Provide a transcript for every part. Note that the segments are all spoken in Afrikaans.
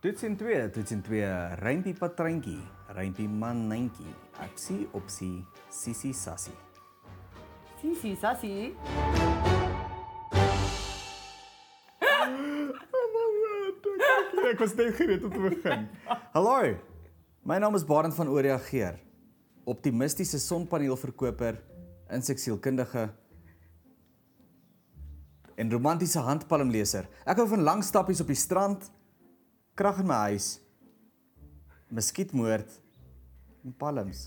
Toets en 2, toets en 2, rympie patrantjie, rympie manantjie. Aksie opsie, sissie sassie. Sissie, sassie. Ek was net gereed om te begin. Hallo. My naam is Barend van Ooreageer. Optimistiese sonpaneelverkoper, inseksielkundige en romantiese handpalmleser. Ek hou van lang stappies op die strand, krag in my huis, muskietmoord en palms.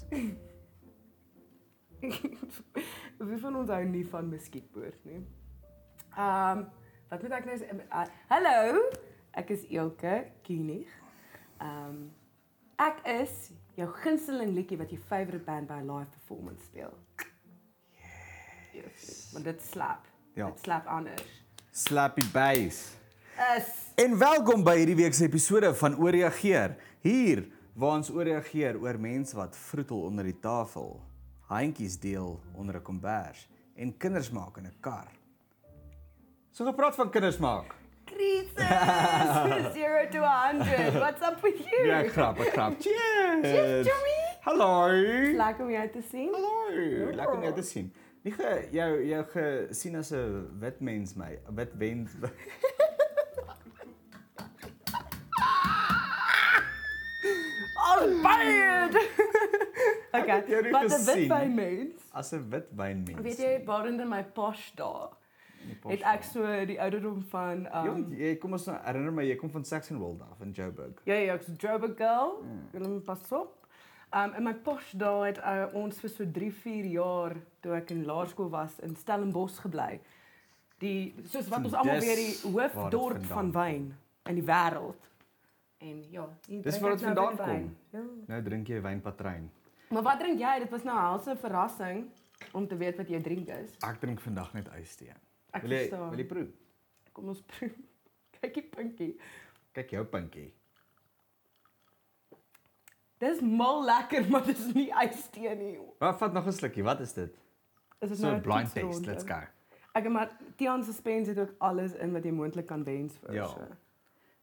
Wie van ons hou nie van muskietpoort nie? Ehm, wat moet ek nou sê? Eh, Hallo, ek is Elke Kunig. Ehm, ek is jou gunsteling liedjie wat jou favourite band by 'n live performance speel. Yes. Want dit slap. Ja. Dit slap anders. Slappy bass. Is En welkom by hierdie week se episode van Ooreageer. Hier waar ons ooreageer oor mense wat vroetel onder die tafel, handjies deel onder 'n kombers en kinders maak in 'n kar. So gepraat van kinders maak. creases 0 to 100. What's up with you? Ja, ek grap, ek grap. Cheers, Cheers. Jimmy. Hallo. Lekker om jou te sien. Hallo. Lekker om jou te sien. Nie ge, jou jou gesien as 'n wit mens my, 'n wit wens. Oh, bad. het jou okay. nie Wat 'n wit gesien. by mens. As 'n wit wynmens. Weet jy, barend in my pos daar. Het ek so die ouderdom van um, Jong, jy kom ons nou herinner my, jy kom van Saxonwold af in Joburg. ja ja, ek's 'n Joburg girl. Wil mm. pas op. Um in my pos daar het uh, ons vir so 3, 4 jaar toe ek in laerskool was in Stellenbosch gebly. Die soos wat ons almal Dis weer die waar hoofdorp dit van vandaan wyn in die wêreld. En ja, hier Dis drink waar ek dit nou vandaan wit wyn. kom. Nou drink jy wynpatrein. Ja. Maar wat drink jy? Dit was nou 'n helse verrassing om te weet wat jou drink is. Ek drink vandag net ystee. Ek Wil jy verstaan. wil jy proe? Kom ons proe. Kyk die pinkie. Kyk jou pinkie. Dis mal lekker, maar dis nie ystee nie. Maar vat nog 'n slukkie. Wat is dit? Dis is So nou 'n een blind toetsronde. taste. Let's go. Ek maar Tian se spens het ook alles in wat jy moontlik kan wens vir. Ja. so.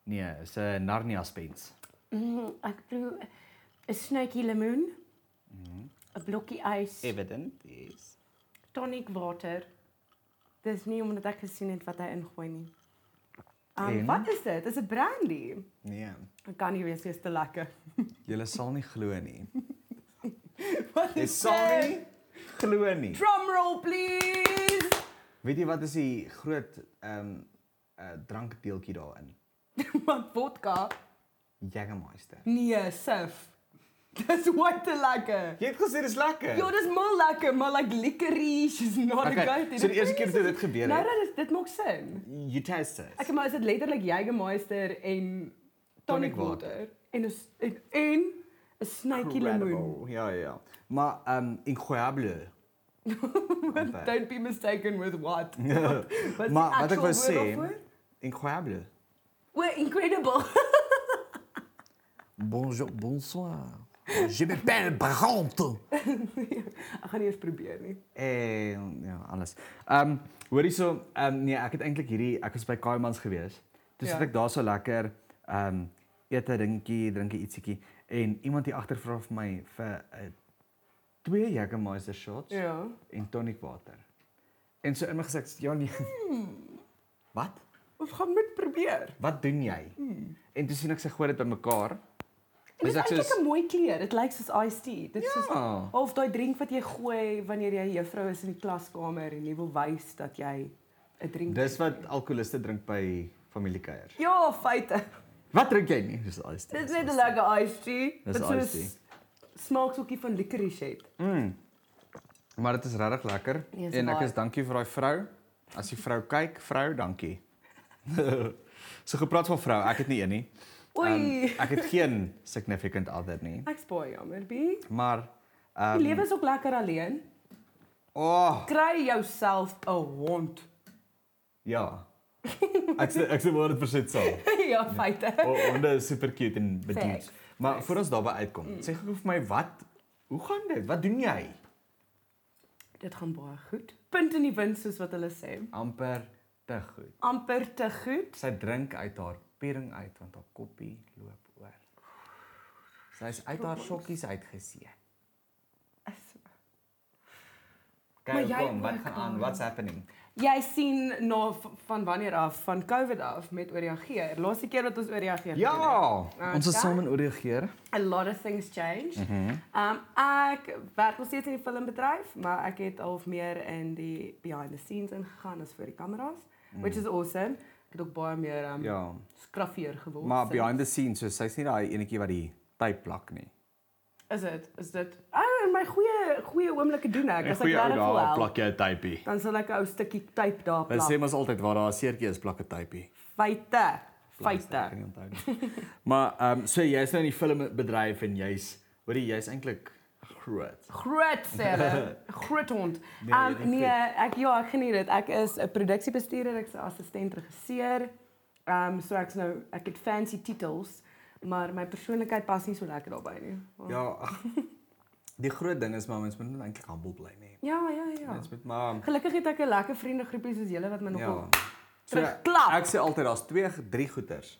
Nee, is 'n Narnia spens. Mm, ek proe 'n snuitjie lemoen. 'n Mhm. blokkie ys, Evident is. tonic water. Dis nie omdat ek gesien het wat hy ingooi nie. Um, En? wat is dit? Dis 'n brandy. Nee. Ek kan nie weet dis te lekker. Jy sal nie glo nie. Wat Jy is sal dit? nie glo nie. Drum roll please. Weet jy wat is die groot ehm um, uh, drankdeeltjie daarin? Wat vodka? Jägermeister. Nee, sif. Dis wat te lekker. Jy het gesê dis lekker. Ja, dis mal lekker, maar like licorice is not okay, a Okay, good thing. so die eerste keer toe dit gebeur Nou het, dat is, dit maak sin. you taste it. Ek maar is dit letterlik Jägermeister en Tonic tonic water en is en, en 'n snytjie lemoen. Incredible. Ja, ja, ja. Maar ehm um, incroyable. Amper. Don't be mistaken with what. die maar wat actual ek wou woord sê, daarvoor? incroyable. We're incredible. Bonjour, bonsoir. Je m'appelle Brant. ek gaan nie eens probeer nie. Eh ja, alles. Ehm um, hoor hierso, ehm um, nee, ek het eintlik hierdie ek was by Kaimans gewees. Toe Ja. sit ek daar so lekker ehm um, eet 'n dingetjie, drink 'n ietsiekie en iemand hier agter vra vir my vir 'n uh, twee Jägermeister shots. Ja. en tonic water. En so in my gesig, ja nee. Wat? Ons gaan moet probeer. Wat doen jy? En toe sien ek sy gooi dit bymekaar. En Dit is ek eintlik 'n mooi kleur. Dit lyk soos iced tea. Dit is soos Ja. half daai drink wat jy gooi wanneer jy 'n juffrou is in die klaskamer en jy wil wys dat jy 'n drink dis wat alkoholiste drink by familiekuiers. Ja, feite. Wat drink jy nie? Dis alles. Dit is net 'n lekker iced tea. Dis wat iced soos tea. Mm. Smaaksoekie van licorice het. Maar dit is regtig lekker Nee, is en ek waar. is dankie vir daai vrou. As die vrou kyk, vrou, dankie. so gepraat van vrou, ek het nie een nie. Oei. Ehm, ek het geen significant other nie. Ek's baie jammer, B. Maar Die ehm um, lewe is ook lekker alleen. oh, Kry jouself 'n hond. ja. Ek sê ek sê word dit verset sal. ja, feite. O, honde is super cute en bediend. Facts, Maar voor ons daarby uitkom, Mm. sê gou vir my wat hoe gaan dit? Wat doen jy? Dit gaan baie goed. Punt in die wind soos wat hulle sê. Amper te goed. Amper te goed. Sy drink uit haar verpappering uit want haar koppie loop oor. Sy is uit haar sokkies uitgesee. Maar Kyk jy kom, wat ook, gaan aan? Karen. What's happening? Jy sien na v- van wanneer af, van COVID af met ooreageer. Laaste keer wat ons ooreageer. Ja, ons is Okay. saam in ooregeer. a lot of things change. Mhm. Um ek werk nog steeds in die filmbedryf, maar ek het al meer in die behind the scenes ingegaan as voor die kameras, which is awesome. Ek het ook baie meer um Mhm. Ja, skraffier geword. maar sinds- behind the scenes, so sy's nie daai enetjie wat die tyd plak nie. is dit is dit ah in my goeie goeie oomblikke doen ek as ek Goeie ou regtig wil daar, help. plak jy 'n typie. Dan sal ek 'n ou stukkie tape daar Hulle sê plak. mos altyd waar daar 'n seertjie is, plak 'n typie. Feite. Ek kan Feite. nie onthou nie. maar ehm um, so jy's nou in die filmbedryf en jy's hoorie jy's eintlik groot. Groot serre. Groot hond. Nee, Um, dit is nee, vet. ek ja, ek geniet dit. Ek is 'n produksiebestuurder, ek's 'n assistent regisseur. Ehm um, so ek's nou ek het fancy titels, maar my persoonlikheid pas nie so lekker daarbey nie. Ja. ag, Die groot ding is maar mens moet net eintlik humble bly, nê. Ja, ja, ja. Mens moet maar Gelukkig het ek 'n lekker vriendegroepie soos julle wat my nogal ja. ja. So, terugklap. Ek sê altyd daar's twee, drie goeters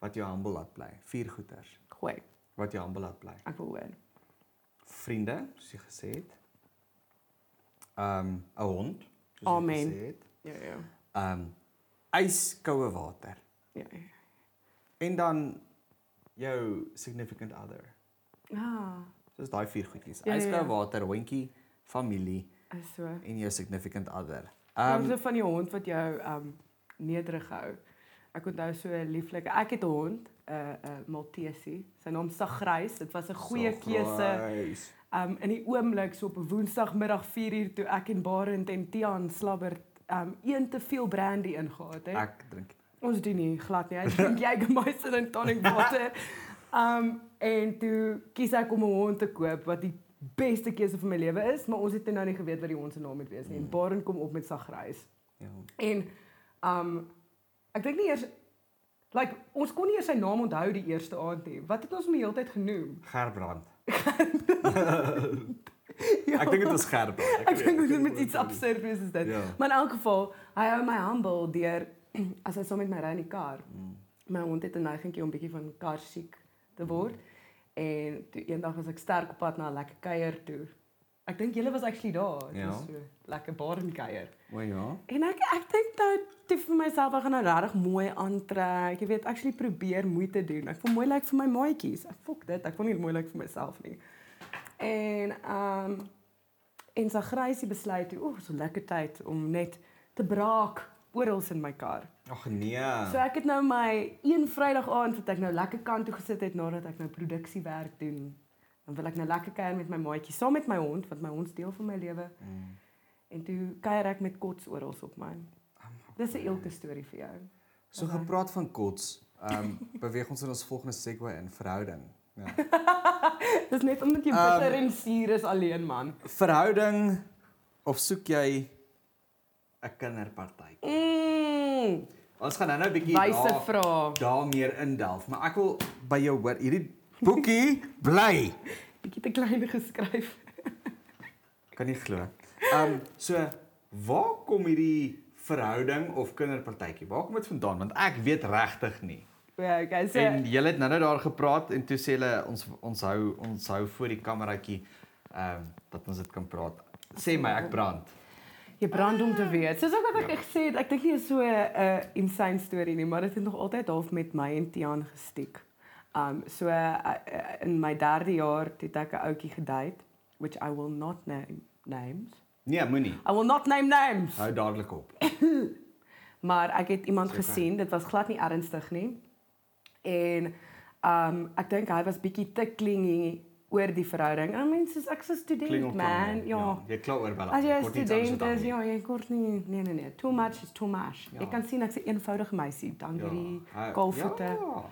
wat jou humble laat bly. Vier goeters gooi. wat jou humble laat bly. Ek wil hoor. Vriende, soos jy gesê het. Ehm um, 'n hond, soos Amen. jy gesê het. Ja, ja. Ehm um, yskoue water Ja. ja. en dan jou significant other. Ah, Soos daai vier goedjies. Ja, ja, ja. Yskoue water, hondjie, familie Ah, is so. en jou significant other. Ehm Ehm um, van die hond wat jou ehm um, nederig hou. Ek onthou so 'n lieflike. Ek het 'n hond, 'n uh, 'n uh, Maltese. Sy naam Sagrys. Dit was 'n goeie keuse. Surprise. Ehm um, in die oomblik so op 'n Woensdagmiddag 4uur toe ek en Barend en Tiaan slabbert ehm um, een te veel brandy ingehaat het. Ek drink. Ons doen nie glad nie. Ek dink jy kan my sit in tonic water. Um en toe kies ek om 'n hond te koop wat die beste keuse van my lewe is, maar ons het toe nou nie geweet wat die hond se naam moet wees nie. En Baren kom op met sagrys. Ja. En um ek dink nie eers like ons kon nie eers sy naam onthou die eerste aand nie. Wat het ons hom die hele tyd genoem? Gerbrand. Ja. Ek dink dit was Gerbrand. Ek dink dit moet iets absurd wees is dit. Ja. Maar in elk geval, hy hou my humble deur as hy saam met my ry in die kar. Mm. My hond het 'n neigingkie om bietjie van kar siek te word. En toe eendag was ek sterk op pad na 'n lekker kuier toe. Ek dink julle was actually daar. Dit Ja. was so lekker bar en kuier. O ja. En ek ek dink nou toe vir myself ek gaan nou regtig mooi aantrek. Jy weet, actually probeer moeite doen. Ek wil mooi lyk like vir my maatjies. Ek fok dit. Ek wil nie mooi lyk like vir myself nie. En ehm um, en sa grysie besluit toe, oeg, so lekker tyd om net te braak oral in my kar. Ag nee. So ek het nou my een Vrydag aand wat ek nou lekker kant toe gesit het nadat ek nou produksiewerk doen. Dan wil ek nou lekker kuier met my maatjie, saam met my hond, want my hond is deel van my lewe. Mm. En toe kuier ek met kots oral op Oh my. Dis 'n elke storie vir jou. So gepraat van kots, ehm um, beweeg ons in ons volgende segue in verhouding. Ja. Dis net omdat jy bitter en suur is alleen man. Verhouding of soek jy 'n kinderpartytjie? Mm, Ons gaan nou-nou 'n bietjie wyse daar, vraag. daar meer indelf, maar ek wil by jou hoor, hierdie boekie bly. Bietjie te klein geskryf. Kan nie glo. Ehm um, so waar kom hierdie verhouding of kinderpartytjie? Waar kom dit vandaan? Want ek weet regtig nie. Ja, okay, so En julle het nou-nou daar gepraat en toe sê hulle ons ons hou ons hou voor die kameraatjie ehm um, dat ons dit kan praat. Sê my ek brand. Jy brand om te weet. Soos ook wat ek gesê het, ek dink nie is so 'n uh, insane storie nie, maar dit het nog altyd half met my en Tiaan gestiek. Um so uh, uh, in my derde jaar het ek 'n ouetjie gedate which I will not name names. Nee, moenie. I will not name names. Hou dadelik op. Maar ek het iemand Seker. gesien, dit was glad nie ernstig nie. En um ek dink hy was bietjie te klingy oor die verhouding. I mean, soos ek so student man, ja. Jy kla oor balans. As jy 'n student is, ja, jy kort nie nee nee nee, too much is too much. Ja. Ja. Jy kan sien ek's 'n eenvoudige meisie, dangerie, ja. kaalvoete. Ehm Ja.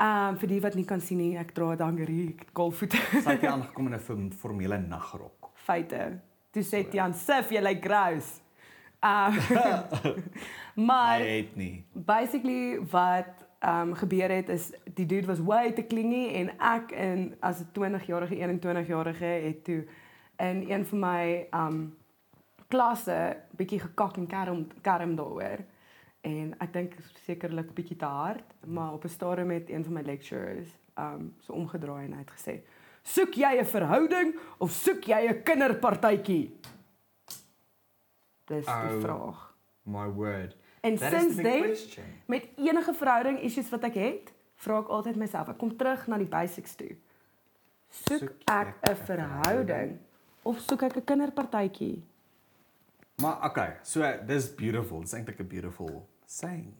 ja. um, vir die wat nie kan sien nie, ek dra dangerie, kaalvoete. Sy het hier aangekom in 'n form- formele nagrok. Feite. Toe sê Tian, "Sif, jy lyk gross." Ehm maar Hy het nie. basically wat um gebeur het is die dude was way te klingy en ek in as 'n 20-jarige 21-jarige het toe in een van ehm, my um klasse bietjie gekak en kerm kerm daaroor. En ik denk zekerlijk een beetje te hard, maar op een stadium met een van mijn lecturers ehm zo omgedraaid en uitgezet. Zoek jij een verhouding of zoek jij een kinderpartijtjie? Dat is de Oh. vraag. My word. En That is sinds the then, big question. met enige verhouding issues wat ek het, vra ek altyd myself, ek kom terug na die basics toe. Soek Soek ek ek 'n een verhouding of soek ek 'n kinderpartytjie? Maar okay, so dis beautiful. Dis eintlik 'n beautiful saying.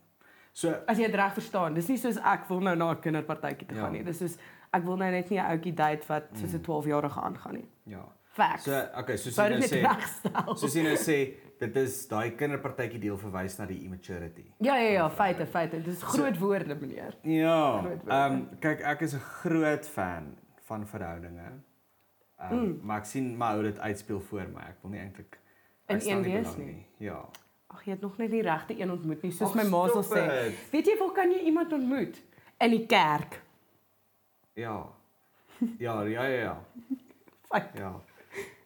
So As jy dit reg verstaan, dis nie soos ek wil nou na 'n kinderpartytjie toe Ja. gaan nie. Dis soos ek wil nou net nie 'n ouetjie date wat soos 'n 12-jarige aangaan nie. ja. Facts. So So, okay, soos Wou jy dit nou net sê, regstel. soos jy nou sê, dit is daai kinderpartytjie deel verwys na die immaturity. ja ja ja, feite, feite. Dis groot woorde, meneer. Ja. Groot woord. Ehm kyk, ek is 'n groot fan van verhoudinge. Ehm Mm. um, maar ek sien maar hoe dit uitspeel voor my. Ek wil nie eintlik In hy staan een nie wees belang nie. Ja. Ag, jy het nog net die regte een ontmoet nie, soos Ag, my ma sal stop sê. het. Weet jy waar kan jy iemand ontmoet? In die kerk. Ja. Ja, ja, ja, ja. Feit. Ja.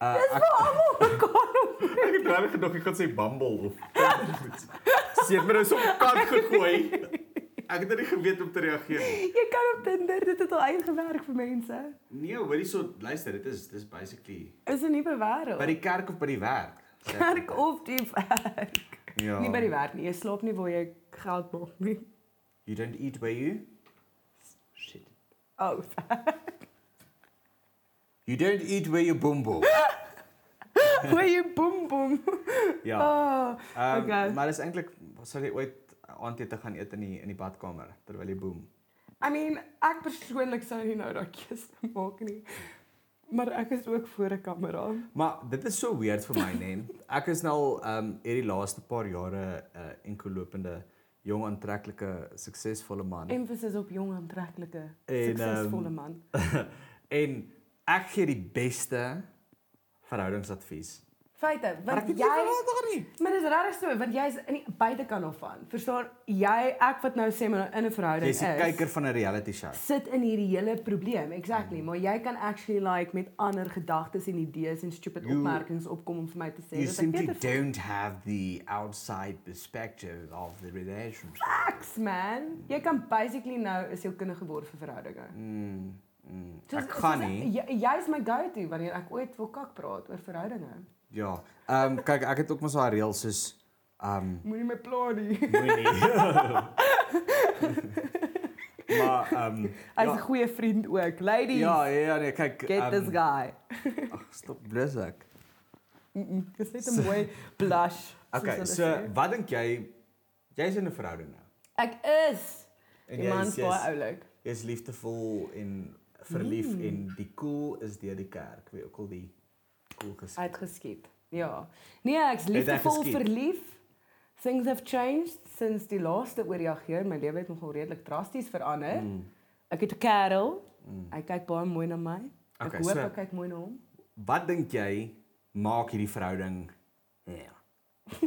Uh, ek Almal mekaar ontmoet. Ek het regtig gedog ek gaan sê Bumble of Seet my nou so op kant gegooi. Ek het nie geweet om te reageer nie. Jy kan op Tinder, dit het al uitgewerk vir mense. Nee, hoorie so, luister, dit is dis basically Is 'n nuwe wêreld. by die kerk of by die werk. sê ek. werk of die werk. Ja. Nie by die werk nie, jy slaap nie waar jy geld maak nie. You don't eat where you shit. Oh, You don't eat where you bumble. waar jy boem boem. Ja. Oh, Um, okay. Maar dis eintlik sal jy ooit aandete gaan eet in die in die badkamer terwyl jy boem. I mean, ek persoonlik sou nie nou daai keuse maak nie. Maar ek is ook voor 'n kamera. Maar dit is so weird vir my, nee. Ek is nou al ehm um, hierdie laaste paar jare 'n uh, enkelopende jong aantreklike suksesvolle man. Emphasis op jong aantreklike, En, ehm, suksesvolle man. en ek gee die beste verhoudingsadvies. Feite, Maar ek want het nie jy geweet daar nie. Maar dis regtig so, want jy's in die buitekant daarvan. Verstaan? Jy ek wat nou sê maar in 'n verhouding Jy's is. 'n kyker van Hmm. 'n reality show. sit in hierdie hele probleem. Exactly, maar jy kan actually like met ander gedagtes en idees en stupid You- opmerkings opkom om vir my te sê You dat ek simply beter f- don't have the outside perspective of the relationship. facts man. Jy kan basically nou 'n sielkundige word vir verhoudinge. Mm, mm. Soos- Ek gaan soos- nie. jy- Jy's my go-to wanneer ek ooit wil kak praat oor verhoudinge. Ja. Ehm um, kyk, ek het ook maar so 'n reël soos ehm um, Moenie my pla nie. Moenie. maar ehm um, Hy's 'n ja, goeie vriend ook. Lady, ja, ja, nee, kyk. get ehm, this guy. Ag, stop blus ek. Mm, mm, Dis net 'n mooi blush. soos Okay, hulle so sê. wat dink jy jy's in 'n verhouding nou? ek is En iemand baie jy's oulik. jy's liefdevol en verlief mm. en die cool is deur die kerk, weet ook al die cool gesprek. uitgeskiet. Ja. Nee, ek's Het hy liefdevol geskiet? verlief. Things have changed since die laaste oorjaggeer. My lewe het nogal redelik drasties verander. Mm. Ek het 'n kerel. Mm. Hy kyk baie mooi na my. Okay, Ek okay, hoop so- so... ek kyk mooi na hom. Wat dink jy maak hierdie verhouding? Ja.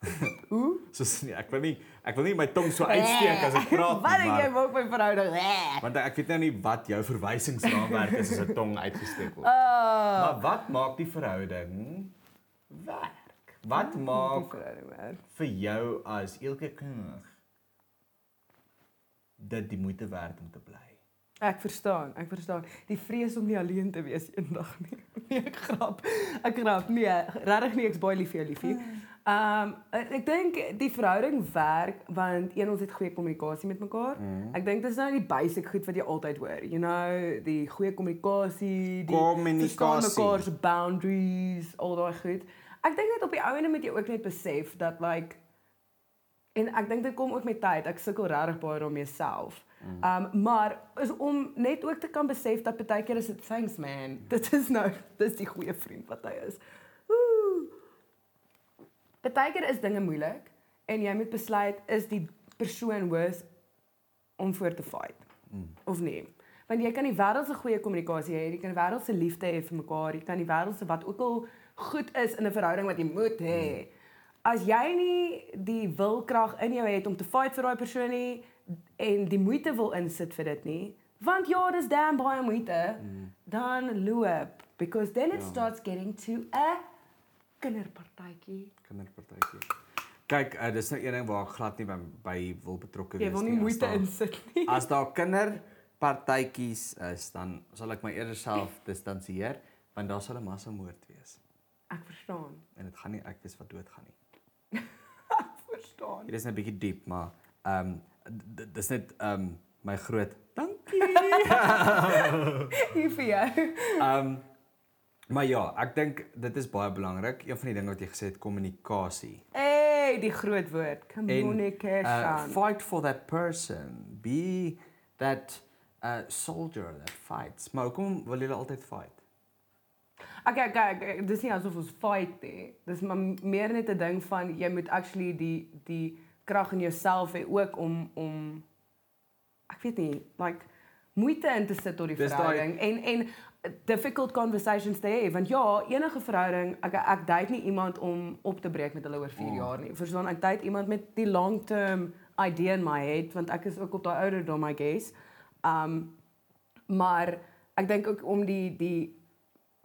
Hoe? So nee, ek wil nie ek wil nie my tong so uitsteek as ek praat nie, Wat dink maar- jy maak my verhouding? Eh. Want ek weet nou nie wat jou verwysingsraamwerk is as 'n tong uitgesteek word. Oh. Maar wat maak die verhouding werk? Wat die maak verhouding werk. vir jou as elke kind dit die moeite werd om te bly? Ek verstaan, ek verstaan. Die vrees om nie alleen te wees eendag nie. Nee, ek grap. Ek grap. Nee, regtig nie, ek's baie lief vir jou, liefie. Ehm um, ek dink die verhouding werk want een ons het goeie kommunikasie met mekaar. Mm. Ek dink dis nou die basic goed wat jy altyd hoor. You know, die goeie kommunikasie, die verstaan Kommunikasie. mekaar se boundaries, al daai goed. Ek dink net op die ouene moet jy ook net besef dat like En ek dink dit kom ook met tyd. Ek sukkel regtig baie daarmee self. Um maar is om net ook te kan besef dat baie keer is dit thanks man. Dit is nou dis die goeie vriend wat hy is. Ooh. Baie keer is dinge moeilik en jy moet besluit is die persoon worth om voor te fight Mm. of nie. Want jy kan die wêreld se goeie kommunikasie hê, jy kan die wêreld se liefde hê vir mekaar, jy kan die wêreld se wat ook al goed is in 'n verhouding wat jy moet hê. As jy nie die wilkrag in jou het om te fight vir daai persoon nie en die moeite wil insit vir dit nie, want ja, dis damn baie moeite, dan loop because then it Ja. starts getting to a kinderpartytjie. Kinderpartytjie. Kyk, eh, dis nou een ding waar ek glad nie by, by wil betrokke wees Jy wil nie as moeite daar- Ah. insit nie. As daar kinderpartytjies is, dan sal ek my eerder self distansieer want daar sal 'n massamoord wees Ek verstaan. en dit gaan nie ek wees wat doodgaan nie. Ek verstaan. Dit is net 'n bietjie diep, maar ehm d- d- dis net ehm my groot dankie. Hier vir jou. Ehm maar ja, ek dink dit is baie belangrik. Een van die dinge wat jy gesê het, kommunikasie. Hey, die groot woord, uh, communication. fight for that person. Be that uh soldier that fights. Maar hoekom wil julle altyd fight? Okay, okay, okay, dis nie asof ons fight nie. Dis maar meer net 'n ding van jy moet actually die die krag in jouself hê ook om om ek weet nie, like moeite in te sit tot die Dis daai- verhouding en en difficult conversations te hê want ja, enige verhouding, ek ek date nie iemand om op te breek met hulle oor Mm. 4 jaar nie. Verstaan, ek date iemand met die long term idea in my head want ek is ook op daai ouderdom, I guess. Um maar ek dink ook om die die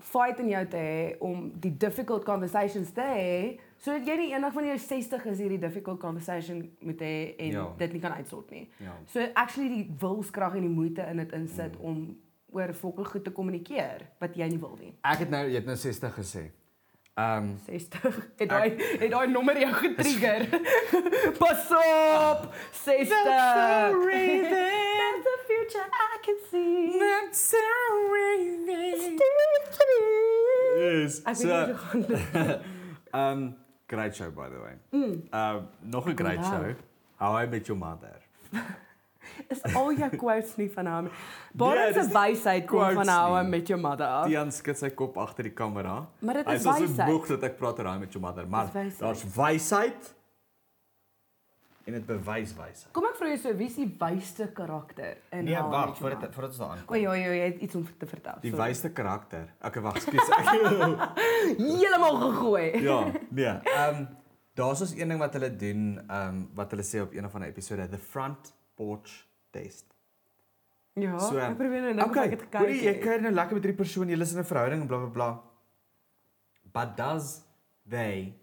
fight in jou te hê om die difficult conversations te hê sodat jy nie eendag wanneer jy 60 is hierdie difficult conversation moet hê en ja. Ja. dit nie kan uitsort nie. Ja. So actually die wilskrag en die moeite in dit insit mm. om oor fokkel goed te kommunikeer wat jy nie wil nie. Ek het nou jy het nou 60 gesê. Ehm 60 het daai het daai nommer jou getrigger. Pas op. 60. That's the future I can see. That's so raving. Yes. Ek weet So, nie hoe gaan dit. um great show by the way. Mm. Um nog 'n great onthou. show. How I Met Your Mother. Is al jou quotes nie van hom. Baie Nee, dis se nie wysheid kom quotes van hom nie. met jou mother af. Dian skud sy kop agter die kamera. Oh. Maar dit is Hy is so wysheid. boeg dat ek praat oor How I Met Your Mother, maar Dis wysheid. daar's wysheid en dit bewys wysheid. Kom ek vra jou so, wie is die wysste karakter in How I Met Your Mother? Nee, voordat ons daaraan O ja, ja, jy het iets om te vertel. Die sorry. wysste karakter. Okay, wag, skus. Ek heeltemal gegooi. ja, nee. Ehm daar's ons een ding wat hulle doen, ehm wat hulle sê op een of ander episode, the front porch test. Ja, ek probeer nou net okay, okay, ek het hoorie, jy gekyk. het. kuier nou lekker met hierdie persoon, julle is in 'n verhouding en blablabla. Bla, bla. But does they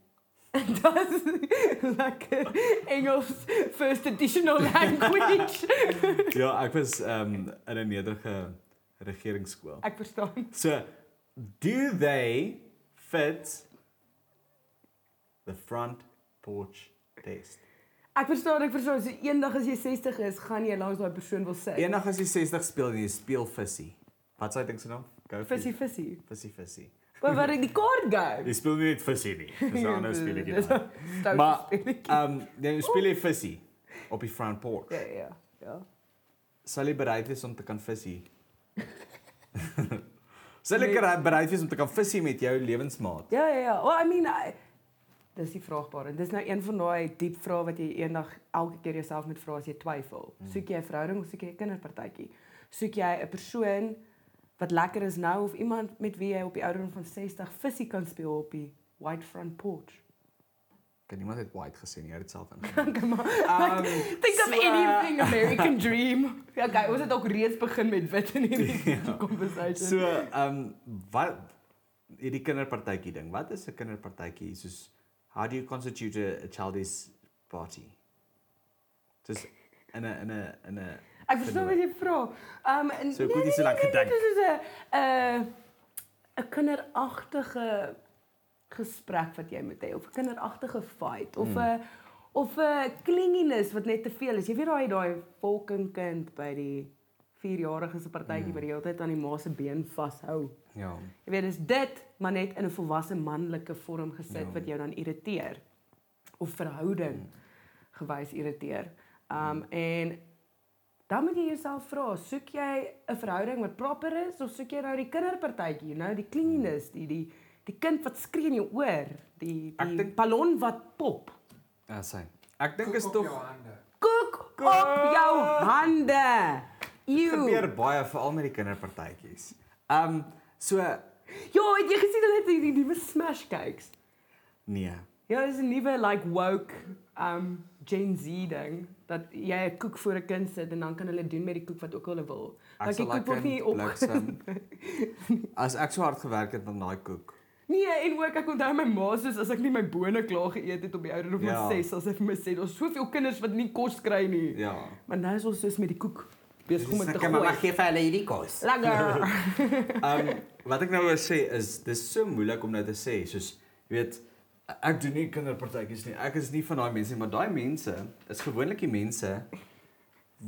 Dit is lekker Engels first additional language. Ja, ek was ehm um, in 'n nederige regeringsskool. ek verstaan. So, do they fit the front porch test? Ek verstaan, ek verstaan. So eendag as jy 60 is, gaan jy langs daai persoon wil sit. Eendag as jy 60 speel en jy speel vissie. Wat sou jy dink se naam? Go Vissie vissie. Vissie vissie. Maar wat die kaart gou. Jy speel nie net vissie nie. Dis 'n ander speletjie. Dis daai. stout Maar speletjie. ehm nou speel jy vissie op die front porch. Ja, ja, ja. Sal jy bereid wees om te kan vissie? Sal Nee. jy kera- bereid wees om te kan vissie met jou lewensmaat? Ja, ja, ja. Well, I mean, I, dis die vraagbaar en dis nou een van daai diep vrae wat jy eendag elke keer jouself moet vra as jy twyfel. Soek jy 'n verhouding of soek jy 'n kinderpartytjie? Soek jy 'n persoon wat lekker is nou of iemand met wie jy op die ouderdom van 60 visie kan speel op die white front porch? Kan niemand het white gesê nie, hy het dit self in. Come on. Um, Think of so, anything American dream. Ja, okay, ons het ook reeds begin met wit in hierdie So, conversation. ehm um, wat hierdie kinderpartytjie ding. Wat is 'n kinderpartytjie? Soos how do you constitute a, a childish party? Dis in 'n in 'n in 'n Ek verstaan wat jy vra. Um en So, ek het nie so lank gedink. Dit is 'n 'n 'n kinderagtige gesprek wat jy moet hê of 'n kinderagtige fight of 'n of 'n klinginess wat net te veel is. Jy weet daai daai fucking kind by die 4-jarige se partytjie wat die hele tyd aan die ma se been vashou. ja. Jy weet dis dit, maar net in 'n volwasse manlike vorm gesit Ja. Mm. wat jou dan irriteer of verhouding gewys irriteer. Um en dan moet jy jouself vra, soek jy 'n verhouding wat proper is of soek jy nou die kinderpartytjie, nou die cleanness, die die die kind wat skree in jou oor, die Ek die dink- ballon wat pop. Ja, sien. Ek dink is tog Kook op jou hande. Ew. gebeur baie veral met die kinderpartytjies. Ehm um, so Ja, het jy gesien hulle het hierdie nuwe smash cakes? nee. Ja, dis 'n nuwe like woke um Gen Z ding dat jy 'n koek voor 'n kind sit en dan kan hulle doen met die koek wat ook hulle wil. Ek Like die sal koek word lekker nie op bliksem. As ek so hard gewerk het aan daai koek, Nee, en ook ek onthou my ma soos as ek nie my bone klaar geëet het op die ouderdom van Ja. 6 as sy vir my sê daar's soveel kinders wat nie kos kry nie. Ja. Maar nou is ons soos met die koek besig om dit te Snakke, maar gooi. mag gee vir hulle hierdie kos. Lekker. Um wat ek nou wou sê is dis so moeilik om nou te sê soos jy weet ek doen nie kinderpartytjies nie. Ek is nie van daai mense nie, maar daai mense is gewoonlik die mense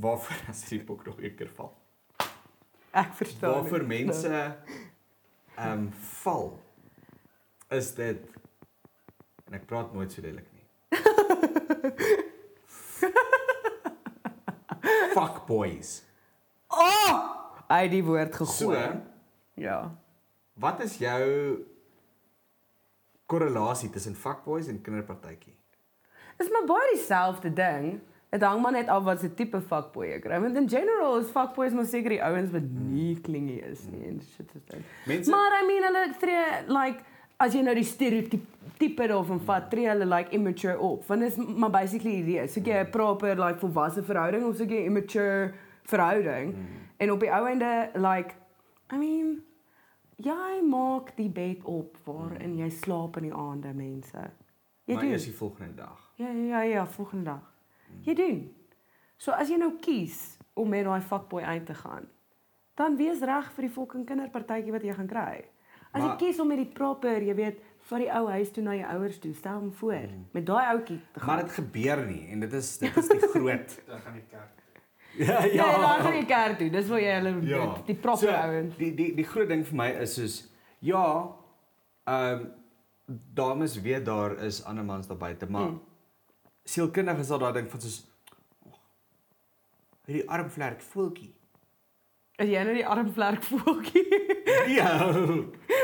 waarvoor as die bok nog een keer val. Ek nou? verstaan. Waarvoor nie. mense um val is dit en ek praat nooit so lelik nie. Fuck boys. Oh! Hy het die woord So, gegooi. Ja. Wat is jou korrelasie tussen fuckboys en kinderpartytjie? Is maar baie dieselfde ding. Dit hang maar net af wat se tipe fuckboy jy kry. Want in general is fuckboys maar seker die ouens wat nie klingie is nie en shit is dit. Mense- Maar I mean hulle tree like as jy nou die stereotype daarvan Hmm. vat, tree hulle like immature op. Want is maar basically die idee. Soek jy 'n proper like volwasse verhouding of soek jy 'n immature verhouding? Hmm. En op die ou einde like I mean jy maak die bed op waarin jy slaap in die aande, mense. Jy Hmm. maar doen. eers die volgende dag. Ja, ja, ja, ja, volgende dag. Jy doen. So as jy nou kies om met daai fuckboy uit te gaan, dan wees reg vir die fucking kinderpartytjie wat jy gaan kry. As jy Maar- kies om met die proper, jy weet, van die ou huis toe na jou ouers toe, stel hom voor met daai ouetjie te gaan. Mm. Maar dit gebeur nie en dit is dit is die groot. Dan gaan die kerk. ja, Ja, ja, dan gaan jy kerk toe. Dis waar jy hulle ja. die So, proper ouens. Die die die groot ding vir my is soos ja, ehm dames weet daar is ander mans daar buite, maar Hmm. mm. sielkundig is daar daai ding van soos "Oh, hierdie armvlerk voeltjie. As jy nou die armvlerk voeltjie. Ja.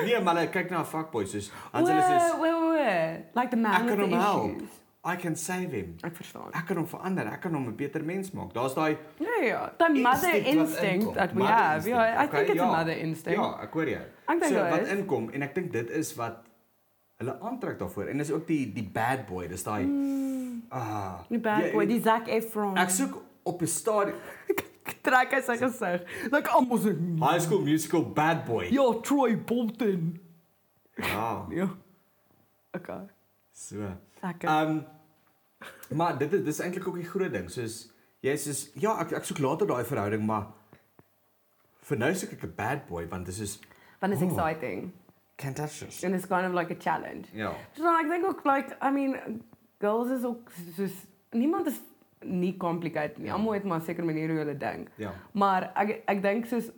Nee, maar hulle kyk na fuckboys soos Wo, dan hulle soos wo, wo. Like the man Ek kan with hom the help. issues. I can save him. Ek verstaan. Ek kan hom verander. Ek kan hom 'n beter mens maak. Daar's daai Ja, ja. The mother instinct wat instinct ja, inkom. that we Mother have. instinct, Yeah, I okay, think it's ja. a mother instinct. Ja, ek hoor jou. Ek dink so daar wat is. inkom en ek dink dit is wat hulle aantrek daarvoor en dis ook die die bad boy, dis daai ah Hmm. Die bad jy- boy, die Zac Efron. Ek soek op 'n stadium trek hy sy gesig. Like almal so. High School Musical bad boy. Ja, Troy Bolton. Ja. Ja. Okay. So. Zac. Efron. Ehm maar dit is dis is eintlik ook die groot ding. Soos jy is soos ja, ek ek soek later daai verhouding, maar vir nou soek ek 'n bad boy want dis is Want it's oh. exciting can't touch this. and it's kind of like a challenge. Ja. So ek dink ook like I mean girls is ook soos niemand is nie complicated nie. Almal het maar 'n sekere manier hoe hulle dink. Ja. Maar ek ek dink soos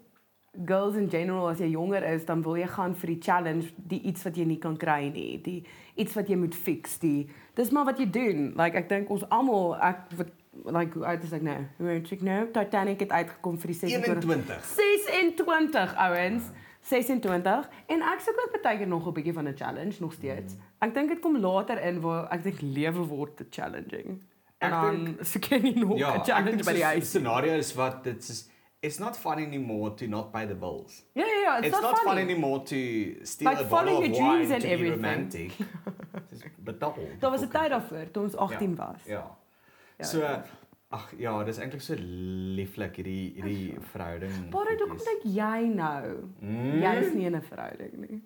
girls in general as jy jonger is, dan wil jy gaan vir die challenge, die iets wat jy nie kan kry nie, die iets wat jy moet fix, die dis maar wat jy doen. Like ek dink ons almal ek wat like hoe oud is ek nou? Hoe oud is ek nou? Titanic het uitgekom vir die 26 21. 26 ouens. 26 en ek soek ook baie keer nog 'n bietjie van 'n challenge nog steeds. Ek dink dit kom later in waar ek dink lewe word te challenging. En Ek dan soek jy nie nog 'n Ja, challenge by die die huis. scenario is wat dit is it's not fun anymore to not pay the bills. Ja ja ja, It's, it's not, fun nie. anymore to steal Like a bottle following of your wine dreams and to everything. be romantic. Dis betaal. Daar was 'n tyd daarvoor toe ons 18 was. Ja. Ja, ja. So ja. ag ja, dis eintlik so lieflik hierdie hierdie ja. verhouding. Baie hoekom goedjies. dink jy nou? Mm. Jy is nie in 'n verhouding nie.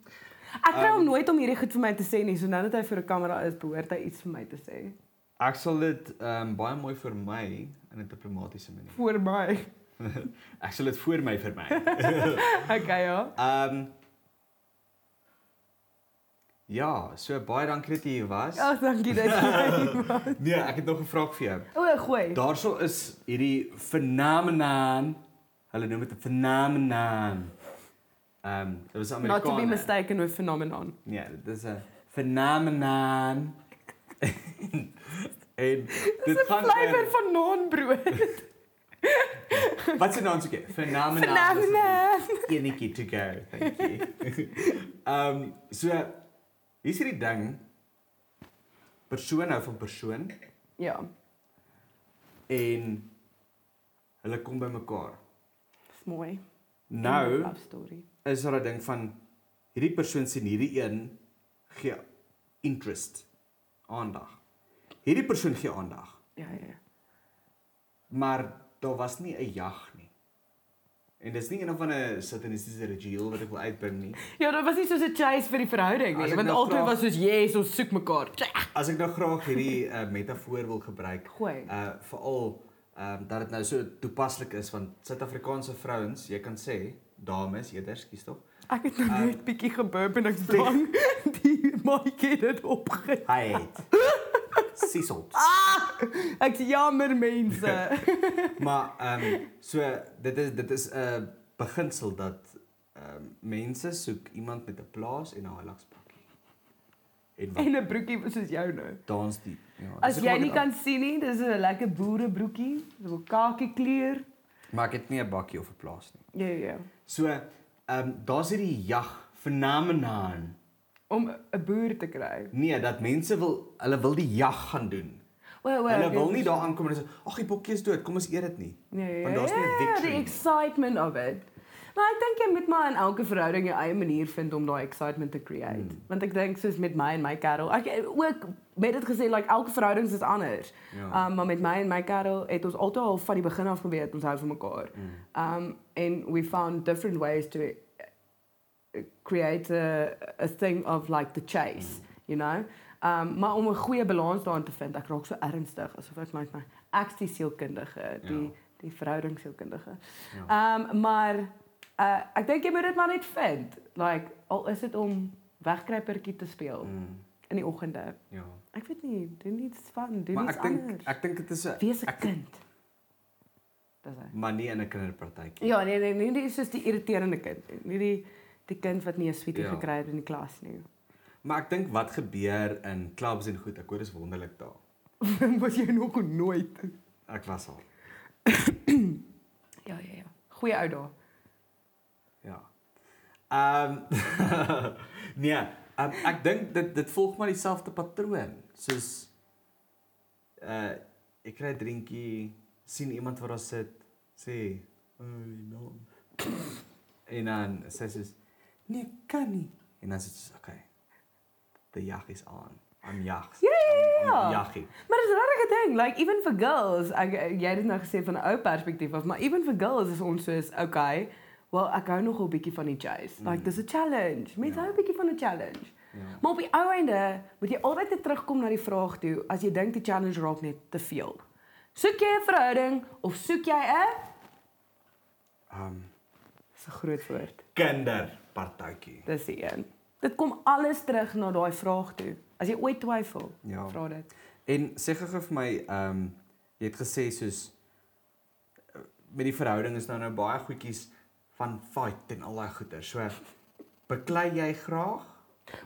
Ek kry Um, hom nooit om hierdie goed vir my te sê nie, so nou dat hy vir 'n kamera is, behoort hy iets vir my te sê. Ek sal dit ehm um, baie mooi vir my in 'n diplomatisiese manier. Voor my. Ek sal dit voor my vir my. Okay ja. Ehm um, Ja, so baie dankie dat jy hier was. Ag, dankie dat jy. Nee, ek het nog 'n vraag vir jou. O, gooi. Daarso is hierdie fenomenaan. Hulle noem dit 'n fenomenaan. Ehm, um, dit was Not to be Amerikaans. mistaken with phenomenon. Ja, dit is 'n fenomenaan. en dit gaan Flavor van naanbrood. oor- Wat se naam soek jy? Fenomenaan. Phenomenon. Enetjie to go. Thank you. Ehm, um, so hier's hierdie ding persoon hou van persoon Ja, en hulle kom by mekaar. dis mooi. Nou Love story. is daar 'n ding van hierdie persoon sien hierdie een gee interest, aandag. Hierdie persoon gee aandag, Ja, ja. ja. maar daar was nie 'n jag nie. En dis nie een van 'n satanistiese ritueel wat ek wil uitbring nie. Ja, dit was nie soos 'n chase vir die verhouding As nie, ek want nou altyd graag- was soos, "Yes, ons soek mekaar." Tja. As ek nou graag hierdie uh, metafoor wil gebruik, Gooi. uh veral ehm um, dat dit nou so toepaslik is want Suid-Afrikaanse vrouens, jy kan sê dames eerder, skus tog. Ek het nou net bietjie gebub en ek's bang die maatjie het dit opgeet. Hy het sisselt. Ek's jammer mense. Maar ehm um, so dit is dit is 'n uh, beginsel dat ehm um, mense soek iemand met 'n plaas en 'n halakspakkie. En wat en 'n broekie soos jou nou. dans die. Ja, dis As ook jy maar nie net- kan sien nie, dis 'n lekker boerebroekie, so 'n kakie kleur. maar ek het nie 'n bakkie of 'n plaas nie. Ja ja, ja. So ehm um, daar's hierdie jag fenomenaan. Om 'n boer te kry. Nee, dat mense wil hulle wil die jag gaan doen. Wow, wow. Hulle wil nie daar aankom en sê ag die bokkie is dood, kom ons eet dit nie. Nee, Want daar's nie 'n Ja, die victory. excitement of it. Maar ek dink jy moet maar in elke verhouding jou eie manier vind om daai excitement te create. Hmm. Mm. Want ek dink soos met my en my kerel, ek ook met dit gesê like elke verhouding is anders. Ja. Um maar met my en my kerel het ons altyd al van die begin af geweet ons hou van mekaar. Mm. Um and we found different ways to uh, create a, a thing of like the chase, Mm. you know? Um maar om 'n goeie balans daarin te vind, ek raak so ernstig asof ek my my ek's die sielkundige, die Ja. die verhoudingshielkundige. Ehm Ja. maar uh, ek dink jy moet dit maar net vind. Like al is dit om wegkruipertjie te speel Mm, in die oggende. ja. Ek weet nie, doen iets van, doen Maar iets ek dink anders. ek dink dit is 'n Wees 'n ek- kind. Dis hy. maar nie in 'n kinderpartytjie. Ja, nee nee, nee, nie soos die irriterende kind. nie. Nie die die kind wat nie 'n sweetie Ja. ja. gekry het in die klas nie. Maar ek dink wat gebeur in clubs en goed, ek hoor dis wonderlik daar. Was jy nog nooit. Ek was al. Ja ja ja. Goeie ou daar. Ja. Ehm um, nee, um, ek dink dit dit volg maar dieselfde patroon. Soos uh ek kry 'n drinkie, sien iemand wat daar sit, sê, "Oh, no." en dan sê sy, soos, "Nee, ek kan nie." En dan sê sy, soos, "Okay. Die jag is aan. I'm jags." Ja, ja, ja, ja. Jaggie. Maar dis 'n regte ding, like even for girls, ek jy het dit nou gesê van 'n ou perspektief af, maar even for girls is ons soos okay, wel ek hou nogal 'n bietjie van die chase. Like dis 'n challenge. Mense Mm. Ja. hou 'n bietjie van 'n challenge. Ja. Maar op die ou einde moet jy altyd weer terugkom na die vraag toe as jy dink die challenge raak net te veel. Soek jy 'n verhouding of soek jy 'n Ehm um, Dis 'n groot woord. kinderpartytjie. Dis die een. Dit kom alles terug na daai vraag toe. As jy ooit twyfel, Ja. vra dit. En sê gou-gou vir my, ehm um, jy het gesê soos eh, met die verhouding is nou nou baie goedjies van fight en al daai goeie. So beklei jy graag?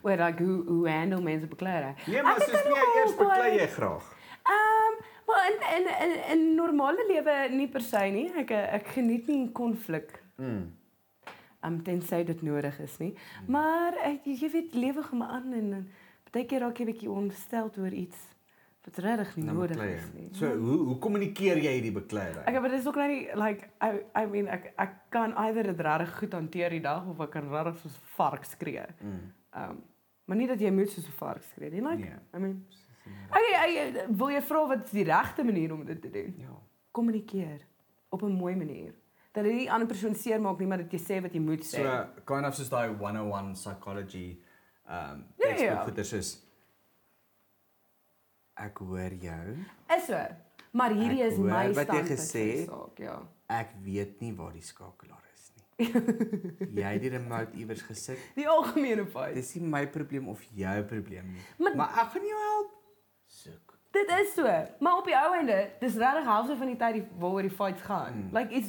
Oor like hoe hoe handle mense beklei. Nee, maar Ek nou is soos nee, nogal eers beklei jy graag. Ehm, maar in in in in normale lewe nie per se nie. Ek eh, ek geniet nie konflik. Mm. Ehm um, tensy dit nodig is nie. Maar uh, jy, jy weet lewe gaan maar aan en, en baie keer raak jy bietjie ongesteld oor iets wat regtig nie Dan nodig Nou beklei is jy. nie. So hoe hoe kommunikeer jy hierdie bekleierery? Ek maar dit is ook nou nie like I I mean ek ek kan either dit regtig goed hanteer die dag of ek kan regtig soos 'n vark skree. Mm. Ehm um, maar nie dat jy moet soos 'n vark skree nie. Like Nee. I mean Okay, ek wil jy vra wat is die regte manier om dit te doen? Ja. kommunikeer op 'n mooi manier. Dat dit nie ander persoon seermaak nie, maar dat jy sê wat jy moet sê. So kind of soos daai 101 psychology ehm um, Ja, tekstboek ja. goeie soos ek hoor jou. is so. Maar hierdie Ek is hoor my wat jy standpunt gesê vir die het. saak, ja. Ek weet nie waar die skakelaar is nie. jy het die remote iewers gesit. Die algemene feit. Dis nie my probleem of jou probleem nie. Maar- maar ek gaan jou help. Soek. Dit is so. Maar op die ou einde, dis regtig halfte van die tyd die waaroor die fights gaan. Mm. Like iets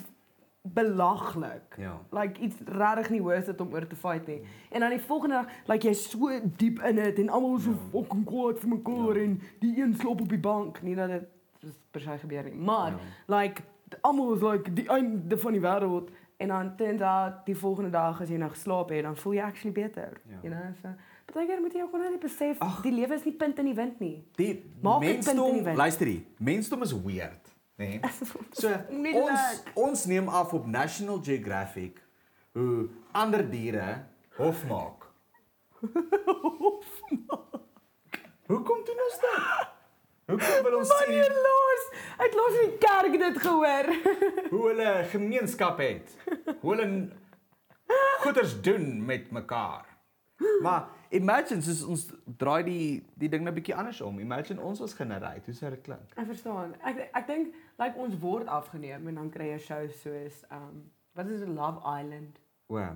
belaglik. Ja. Like iets regtig nie worth it om oor te fight nie. En dan die volgende dag, like jy so diep in dit en almal so fucking kwaad vir mekaar Ja. en die een slop op die bank, nie dat dit soos per se gebeur nie. Maar Ja. like almal was like die einde van die wêreld en dan turns out die volgende dag as jy nou geslaap het, dan voel jy actually beter. Ja. You know, so partykeer moet jy ook wel net besef Ag. die lewe is nie punt in die wind nie. Die Maak 'n punt in die mensdom, wind. luister hier. Mensdom is weird, né? Nee? So Nie ons leuk. ons neem af op National Geographic hoe ander diere hof maak. Of Hoekom doen ons dit? Hoekom wil ons sien Wanneer laas? Ek het laas in die kerk dit gehoor. hoe hulle gemeenskap het. hoe hulle goeders doen met mekaar. Maar imagine soos ons draai die die ding nou bietjie anders om. Imagine ons was generate, hoe sou dit klink? Ek verstaan. Ek ek dink like ons word afgeneem en dan kry jy shows soos um wat is dit Love Island? O. Ja.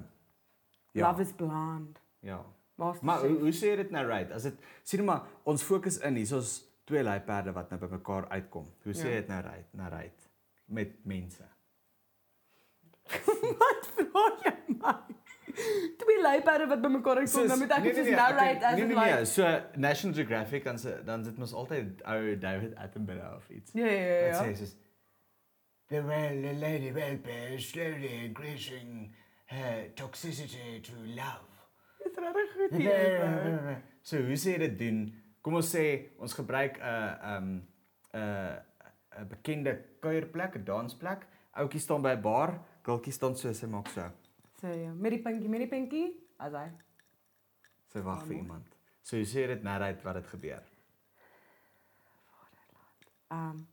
Love is blind. Ja. Maar MasterChef. hoe, hoe sê jy dit nou right? As dit sien nou maar ons fokus in hier, ons twee leiperde wat nou bymekaar uitkom. Hoe sê jy Ja. dit nou right? Nou right met mense. eh, Wat vra jy my? Twee leiperde wat bymekaar kom, dan moet ek dit soos nou right as nee, in nee, like nee, so National Geographic dan se dan sit mos altyd ou David Attenborough of iets. Ja, ja, ja, nee. Wat ja. sê soos The well, the lady welfare is slowly increasing her toxicity to love. Dis regtig goed ja. hier. so hoe sê jy dit doen? Kom ons sê ons gebruik 'n um 'n 'n bekende kuierplek, 'n dansplek. Ouetjie staan by 'n bar, girltjie staan so, sy maak so. So ja, met die pinkie, met die pinkie. As hy. Sy wag vir iemand. So hoe sê jy dit net uit wat dit gebeur? Um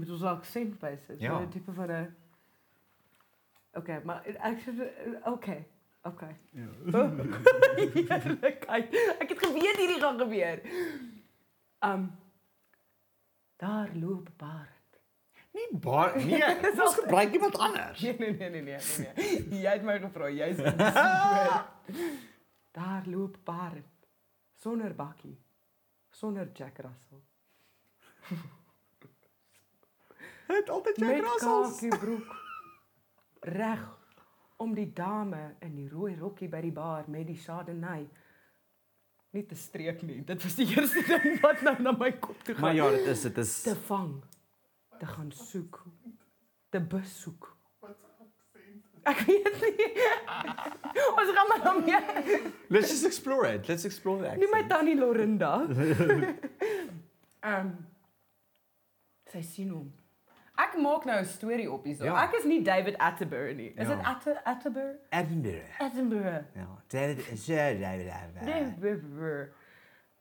met ons aksent basis, Ja. ja. so 'n tipe van 'n Okay, maar it actually okay. Okay. Ja. Eerlik, ek, ek het geweet hierdie gaan gebeur. Um daar loop 'n paard. Nie bar nee, ons gebruik iemand anders. Nee nee nee nee nee nee. nee. Jy het my gevra, jy's in die Ah! sewer. Daar loop paard sonder bakkie, sonder Jack Russell. Het altyd Jack Met Russells. kakie broek. Reg om die dame in die rooi rokkie by die bar met die Chardonnay nie te streek nie. Dit was die eerste ding wat nou na my kop toe gaan. Maar ja, dit is dit is te vang, te gaan soek, te besoek. Ek weet nie. Ons gaan maar nou hom hier. Let's just explore it. Let's explore that. Nie my tannie Lorinda. Ehm sy sien hom. Ek maak nou 'n storie op hierso. Ja. Ja. Ek is nie David Attenborough nie. Is Ja. dit ja. Atte Attenborough? Edinburgh. Attenborough. Ja, dit is so. Nee, brr, brr.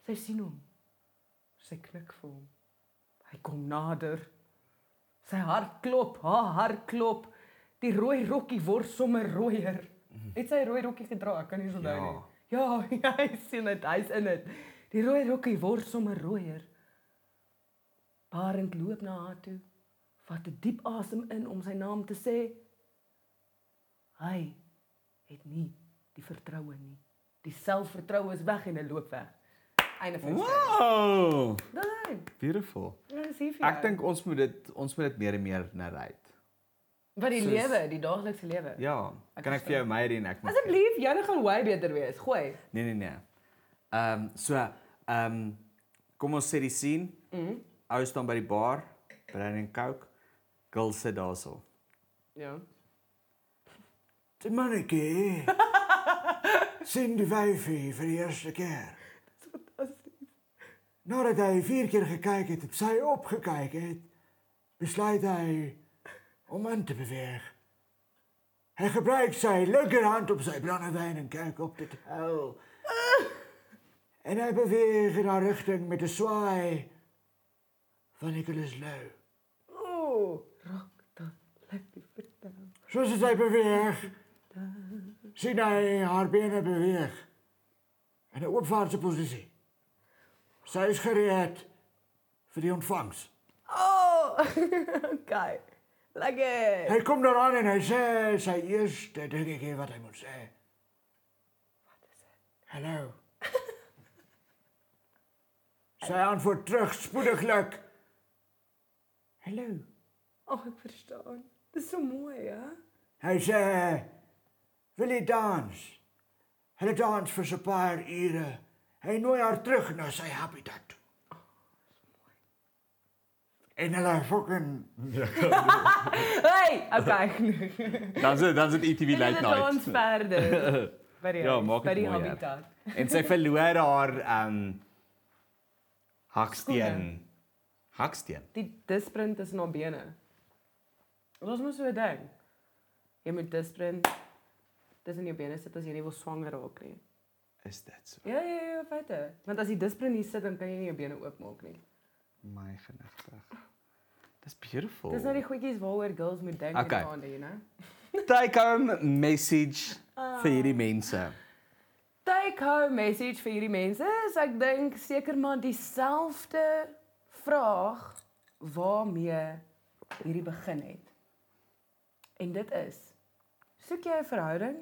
Sy sien hom. Sy knik vir hom. Hy kom nader. Sy hart klop, haar hart klop. Die rooi rokkie word sommer rooier. Het sy rooi rokkie gedra? Ek kan nie onthou nie. Ja, ja, hy sien dit, hy's in dit. Die rooi rokkie word sommer rooier. Barend loop na haar toe. Vat 'n diep asem in om sy naam te sê. Hy het nie die vertroue nie. Die selfvertroue is weg en hy loop weg. Einde van die storie. Wow! Daai. nou, Beautiful. Dis hier vir jou. Ek dink ons moet dit ons moet dit meer en meer narrate. wat die soos- lewe, die daaglikse lewe. Ja, kan ek vir jou my doen ek moet- Asseblief, joune gaan way beter wees. Gooi. Nee nee nee. Ehm um, so ehm um, kom ons sê die scene. Mhm. Ou staan by die bar, brandy en coke. Girl sit daarso. Ja. Die mannetjie. sien die wyfie vir die eerste keer. Nadat hij vier keer gekeken heeft, op zij opgekeken heeft, besluit hij om aan te bewegen. Hij gebruikt zijn linkerhand om zijn brandewijn en kijk op dit huil. En hij beweegt in haar richting met de zwaai van Nicolas Leu. Ooh, raak dan lekker vertel. Zoals het hij beweegt, ziet hij haar benen bewegen. In een opwaartse positie. Zij is gereed voor die ontvangst. Oh, okay. Lekker. Hij komt eraan en hij zei, zei eerst, eh, denk ik, eh, wat hij moet zeggen. Hallo. Zij antwoordt terug, spoediglijk. Hallo. Oh, ek verstaan. Dis so mooi, hè? Hij zei, wil je dans? Hij dans voor een paar uren. Hij nooi haar terug naar zijn habitat toe. En hulle fucking... Hey, okay. Dan sit dan sit ETV late Dit ons night. verder. By die Ja, huis, maak by dit die mooier. habitat. En sy verloor haar ehm um, haksteen. Haksteen. Die disprint is na bene. Ons moet so 'n ding. Jy moet disprint tussen jou bene sit as jy nie wil swanger raak nie. Is dit so? Ja ja ja, feite. Want as die disprint hier sit, dan kan jy nie jou bene oopmaak nie. My genigtig. Dis beautiful. Dis nou die nou goedjies waaroor girls moet dink Okay. en aande, you know. Take home message vir hierdie mense. Take home message vir hierdie mense is ek dink seker maar dieselfde vraag waarmee hierdie begin het. En dit is: soek jy 'n verhouding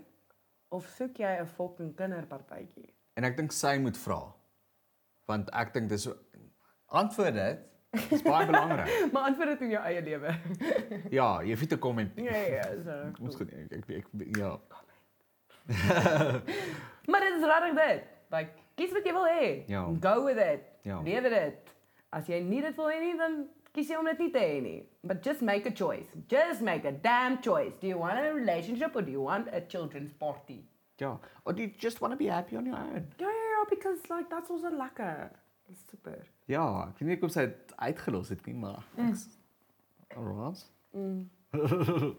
of soek jy 'n fucking kinderpartytjie? En ek dink sy moet vra. Want ek dink dis antwoord dit. Dis baie belangrik. Maar antwoord dit in jou eie lewe. Ja, jy hoef nie te kom en ja ja, so. Ons goed, ek, ek, ek ja. Maar dit is regtig dit. Like kies wat jy wil hê. Ja. Go with it. Ja. Lewe dit. As jy nie dit wil hê nie, dan kies jy om dit nie te hê nie. But just make a choice. Just make a damn choice. Do you want a relationship or do you want a children's party? Ja. Or do you just want to be happy on your own? Ja ja ja, because like that's also lekker. Dis super. Ja, ek weet nie hoekom sy dit uitgelos het nie, maar ek's alright. Mm.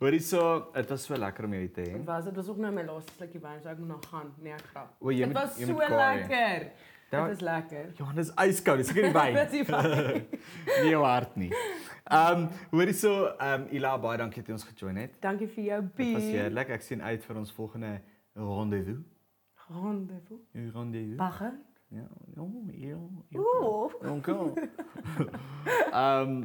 Hoorie so, dit was so lekker om jou hier te hê. Dit was dit was ook nou my laaste slukkie wyn, so ek moet nog gaan. Nee, ek grap. O, jy Dit moet- was jy moet so kaai. lekker. Daar- Dit is lekker. Johannes yskoud, dis seker die wyn. Dit is fyn. nie jou hart nie. Ehm, um, hoorie so, ehm um, Ila, baie dankie dat jy ons gejoin het. Dankie vir jou Dit bier. was heerlik. Ek sien uit vir ons volgende rendezvous. Rendezvous. Een Rendezvous. Bagger. Ja, oh, ja. Ooh. Dankie. Ehm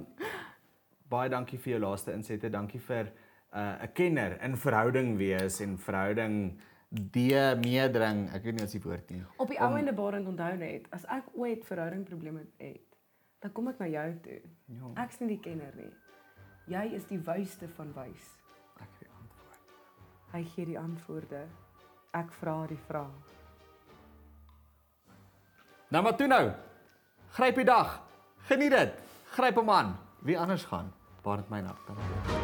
baie dankie vir jou laaste insette. Dankie vir 'n uh, kenner in verhouding wees en verhouding die meedring. Ek weet nie as die woord nie. Op die ou ende barend onthou net, as ek ooit verhoudingprobleme het, dan kom ek na jou toe. Ja. Ek's nie die kenner nie. Jy is die wyste van wys. Ek het die antwoord. Hy gee die antwoorde. Ek vra die vrae. Nou maar toe nou. Gryp die dag. Geniet dit. Gryp hom aan. Wie anders gaan? Barend my nap. Dankie.